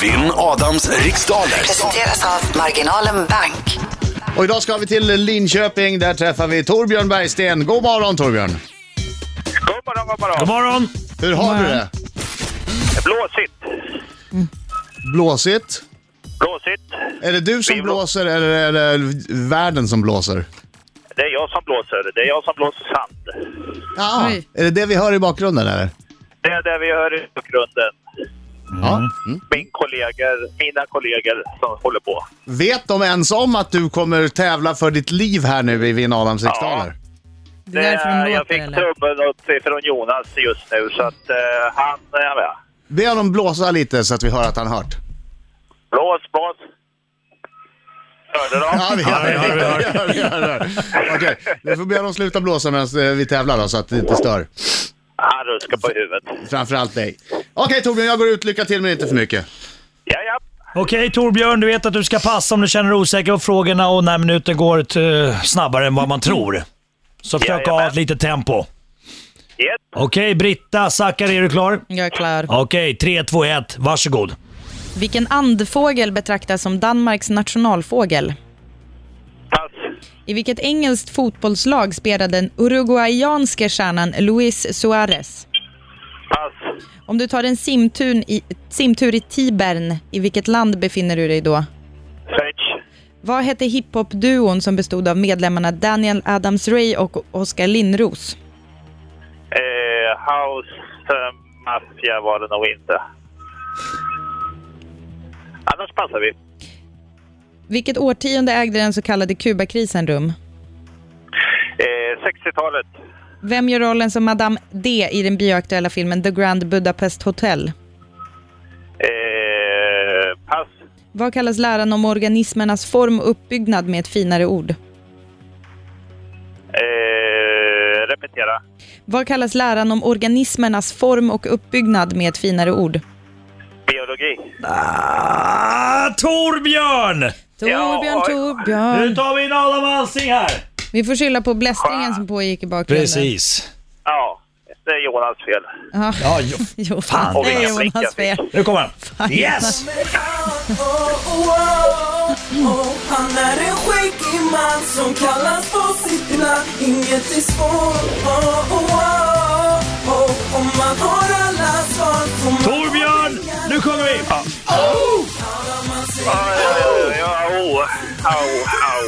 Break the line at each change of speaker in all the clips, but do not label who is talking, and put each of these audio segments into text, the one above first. Vinn Adams riksdaler.
Presenteras av Marginalen Bank.
Och idag ska vi till Linköping, där träffar vi Torbjörn Bergsten. God morgon Torbjörn!
God morgon, god morgon.
God morgon!
Hur har du det?
Blåsigt.
Blåsigt?
Blåsigt.
Är det du som
Det är blå-
blåser eller är det världen som blåser?
Det är jag som blåser. Det är jag som blåser sand.
Ja,
Oj.
är det det vi hör i bakgrunden eller?
Det är det vi hör i bakgrunden.
Ja. Mm.
Min kollegor, mina kollegor som håller på.
Vet de ens om att du kommer tävla för ditt liv här nu i Vinn Adams riksdaler?
Det är därför de
Eh, jag
låter
fick
eller?
tummen upp från Jonas just nu, så att eh, han är med.
Be honom blåsa lite så att vi hör att han hört.
Blås, blås. Hörde de?
Ja, vi hör, vi hör, vi hör, vi hör, vi hör. Okej, nu får be honom sluta blåsa medan eh, vi tävlar då, så att det inte stör.
Han ruskar på huvudet.
Framförallt dig. Okej Torbjörn, jag går ut. Lycka till men inte för mycket.
Ja, ja.
Okej Torbjörn, du vet att du ska passa om du känner dig osäker på frågorna och när minuten går eh, snabbare än vad man tror. Så försök
Jajamän.
ha ett litet tempo.
Yes.
Okej Britta Zackari, är du klar?
Jag är klar.
Okej, tre, två, ett, varsågod.
Vilken andfågel betraktas som Danmarks nationalfågel?
Pass.
I vilket engelskt fotbollslag spelade den uruguayanske stjärnan Luis Suarez?
Pass.
Om du tar en simtur i, simtur i Tibern, i vilket land befinner du dig då?
Fetch.
Vad hette hiphop-duon som bestod av medlemmarna Daniel Adams-Ray och Oskar Linnros?
Eh, house eh, Mafia var det nog inte. Annars passar vi.
Vilket årtionde ägde den så kallade Kubakrisen rum?
Eh, 60-talet.
Vem gör rollen som Madame D i den bioaktuella filmen The Grand Budapest Hotel?
Eh, pass.
Vad kallas läran om organismernas form och uppbyggnad med ett finare ord?
Eh, repetera.
Vad kallas läran om organismernas form och uppbyggnad med ett finare ord?
Biologi.
Ah, Torbjörn!
Torbjörn,
Ja, oj.
Nu
Torbjörn.
tar vi in Adam Alsing här.
Vi får skylla på blästringen som pågick i bakgrunden.
Ja, det är Jonas fel.
Ja.
Ja, jo.
Jo,
Fan,
det är
vilken blick jag
Jonas
fick.
fel.
Nu kommer han. Yes!
Han är en skäggig man som kallas på sitt namn Inget är svårt, oh, oh, oh, oh. Om man har alla svar får man
Torbjörn! Nu sjunger vi!
Ja, ja, ja, au, au, au.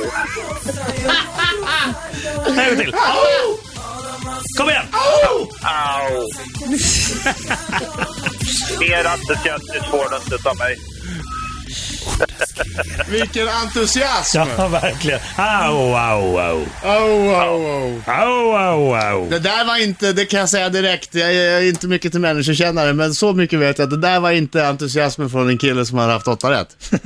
En gång till. Kom igen!
Au. Mer entusiastiskt får du inte utav mig.
Vilken entusiasm!
Ja, verkligen. Au, au, au.
Au, au, au.
Au, au, au.
oh, Det där var inte, det kan jag säga direkt, jag är inte mycket till människokännare, men så mycket vet jag att det där var inte entusiasmen från en kille som har haft åtta rätt.
Nej,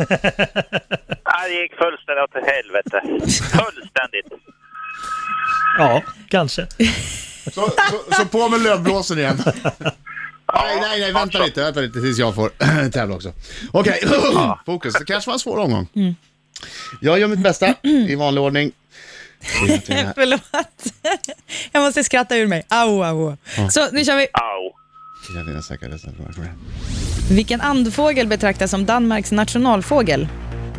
Det gick fullständigt åt helvete. Fullständigt.
Ja, kanske.
Så, så, så på med lövblåsen igen. Nej, nej, nej, vänta lite, vänta lite tills jag får tävla också. Okej, fokus. Det kanske var en svår omgång. Jag gör mitt bästa i vanlig ordning.
Förlåt. Jag måste skratta ur mig. Au, au. Så nu kör vi.
Au.
Vilken andfågel betraktas som Danmarks nationalfågel?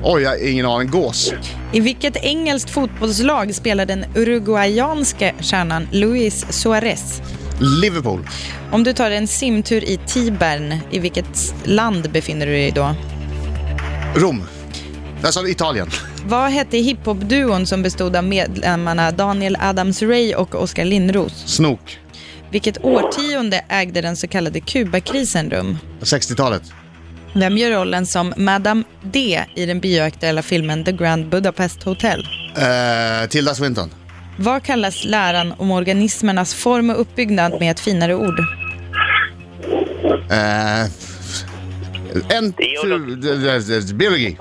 Oj, jag har ingen aning. Gås.
I vilket engelskt fotbollslag spelar den uruguayanske stjärnan Luis Suarez?
Liverpool.
Om du tar en simtur i Tibern, i vilket land befinner du dig då?
Rom. Där sa du Italien.
Vad hette hiphop-duon som bestod av medlemmarna Daniel Adams-Ray och Oskar Linnros?
Snok.
Vilket årtionde ägde den så kallade Kubakrisen rum?
60-talet.
Vem gör rollen som Madame D i den bioaktuella filmen The Grand Budapest Hotel?
Eh, Tilda Swinton.
Vad kallas läran om organismernas form och uppbyggnad med ett finare ord?
Eh, en, tu- biologi.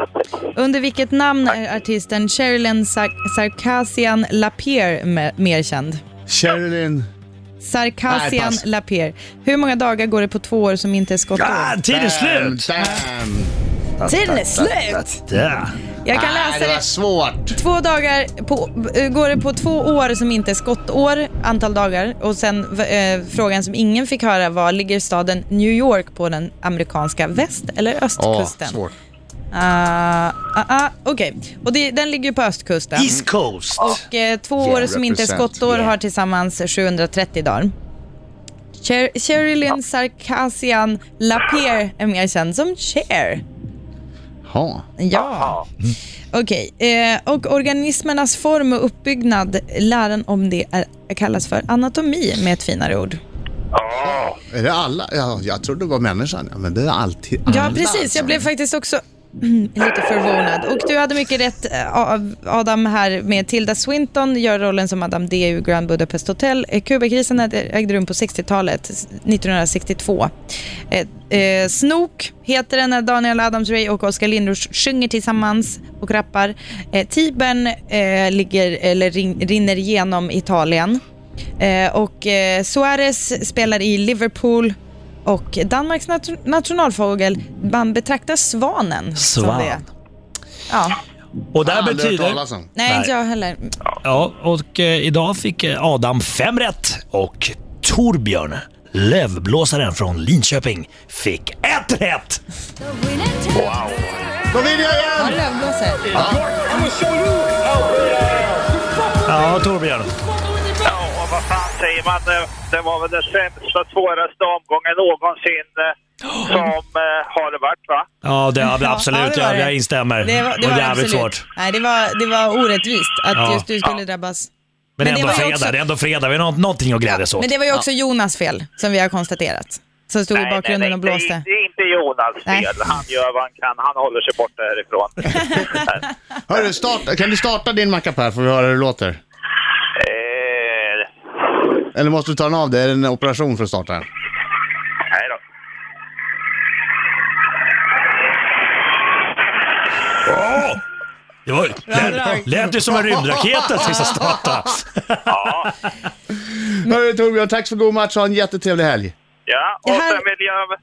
Under vilket namn är artisten Sherilyn Sar- Sarkasian Lapierre me- mer känd?
Sherilyn. Nej,
Sarkasian
pass.
Lapierre. Hur många dagar går det på två år som inte är skottår?
Ah, tid är slut!
Damn.
Tiden är slut!
Där.
Jag kan
Nej,
läsa
det var
det.
svårt.
Två dagar på, eh, går det på två år som inte är skottår, antal dagar. Och sen eh, frågan som ingen fick höra var, ligger staden New York på den amerikanska väst eller
Ja,
östkusten?
svårt.
Ah, ah, ah, Okej, och det, den ligger ju på östkusten.
East Coast.
Och eh, två år som inte är
represent,
skottår
yeah.
har tillsammans 730 dagar. Cher- Sherilyn Sarkisian Lapierre är mer känd som Cher.
Ja.
Ja. Okej, eh, och organismernas form och uppbyggnad, läran om det är, kallas för anatomi med ett finare ord.
Ja.
Är det alla? Ja, jag trodde det var människan. Ja, men det är alltid alla.
Ja, precis.
alltså.
Jag blev faktiskt också lite förvånad. Och du hade mycket rätt eh, av Adam här med Tilda Swinton gör rollen som Madame D i Grand Budapest Hotel. Eh, Kubakrisen hade- ägde rum på 60-talet, s- 1962. Eh, eh, Snook heter den när Daniel Adams-Ray och Oskar Lindros sjunger tillsammans och rappar. Eh, Tibern eh, ligger, eller rin- rinner genom Italien. Eh, och eh, Suarez spelar i Liverpool. Och Danmarks nat- nationalfågel, man betraktar svanen som
Svan.
det. Ja.
Och det här
Aldrig hört
betyder...
talas om.
Nej,
Nej.
inte jag heller.
Ja, och eh, idag fick eh, Adam fem rätt och Torbjörn, lövblåsaren från Linköping, fick ett rätt!
Då vinner jag
Ja,
igen!
lövblåsare.
Ja, Torbjörn.
Ja, och vad fan säger man? Det- Det var väl den sämsta, svåraste omgången någonsin eh, som eh, har det varit, va?
Ja, det, ja,
Ja,
absolut.
ja, det var
jag,
det.
jag instämmer.
Det var, det var
jävligt
absolut.
svårt.
Nej, det var, det var orättvist att
Ja.
just du skulle drabbas.
Men,
Men det
ändå
var ju
fredag.
också-
Det är ändå fredag. Vi har nå- någonting att glädjas åt.
Men det var ju också Jonas fel, som vi har konstaterat. Som stod i bakgrunden och
det är
blåste.
inte- Det är inte Jonas
Nej.
fel. Han gör vad han kan. Han håller sig borta härifrån.
Hörru, starta, kan du starta din mackapp här? Får vi höra hur det låter?
eh,
Eller måste du ta den av dig? Är det en operation för att starta den?
nej då.
Åh! Det var,
drag.
lät, lät ju som en rymdraket att vi ska starta.
Hörru Torbjörn, tack för god match. Ha en jättetrevlig helg.
Ja,
Det
och
här-
sen vill jag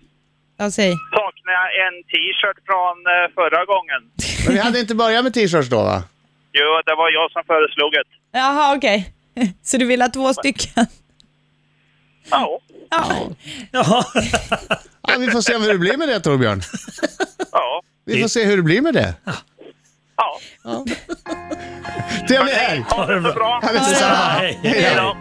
Ja, säg.
sakna en t-shirt från eh, förra gången.
Men vi hade inte börjat med t-shirts då va?
Jo, det var jag som föreslog det.
Jaha, okej. Så du vill ha två stycken?
Ja,
Ja.
Ja.
Ja, vi får se hur det blir med det Torbjörn.
ja,
Vi får se hur det blir med det.
ja.
Trevlig helg!
Ha det så bra.
Ja, det är så.
Hej, hej.
Hej då.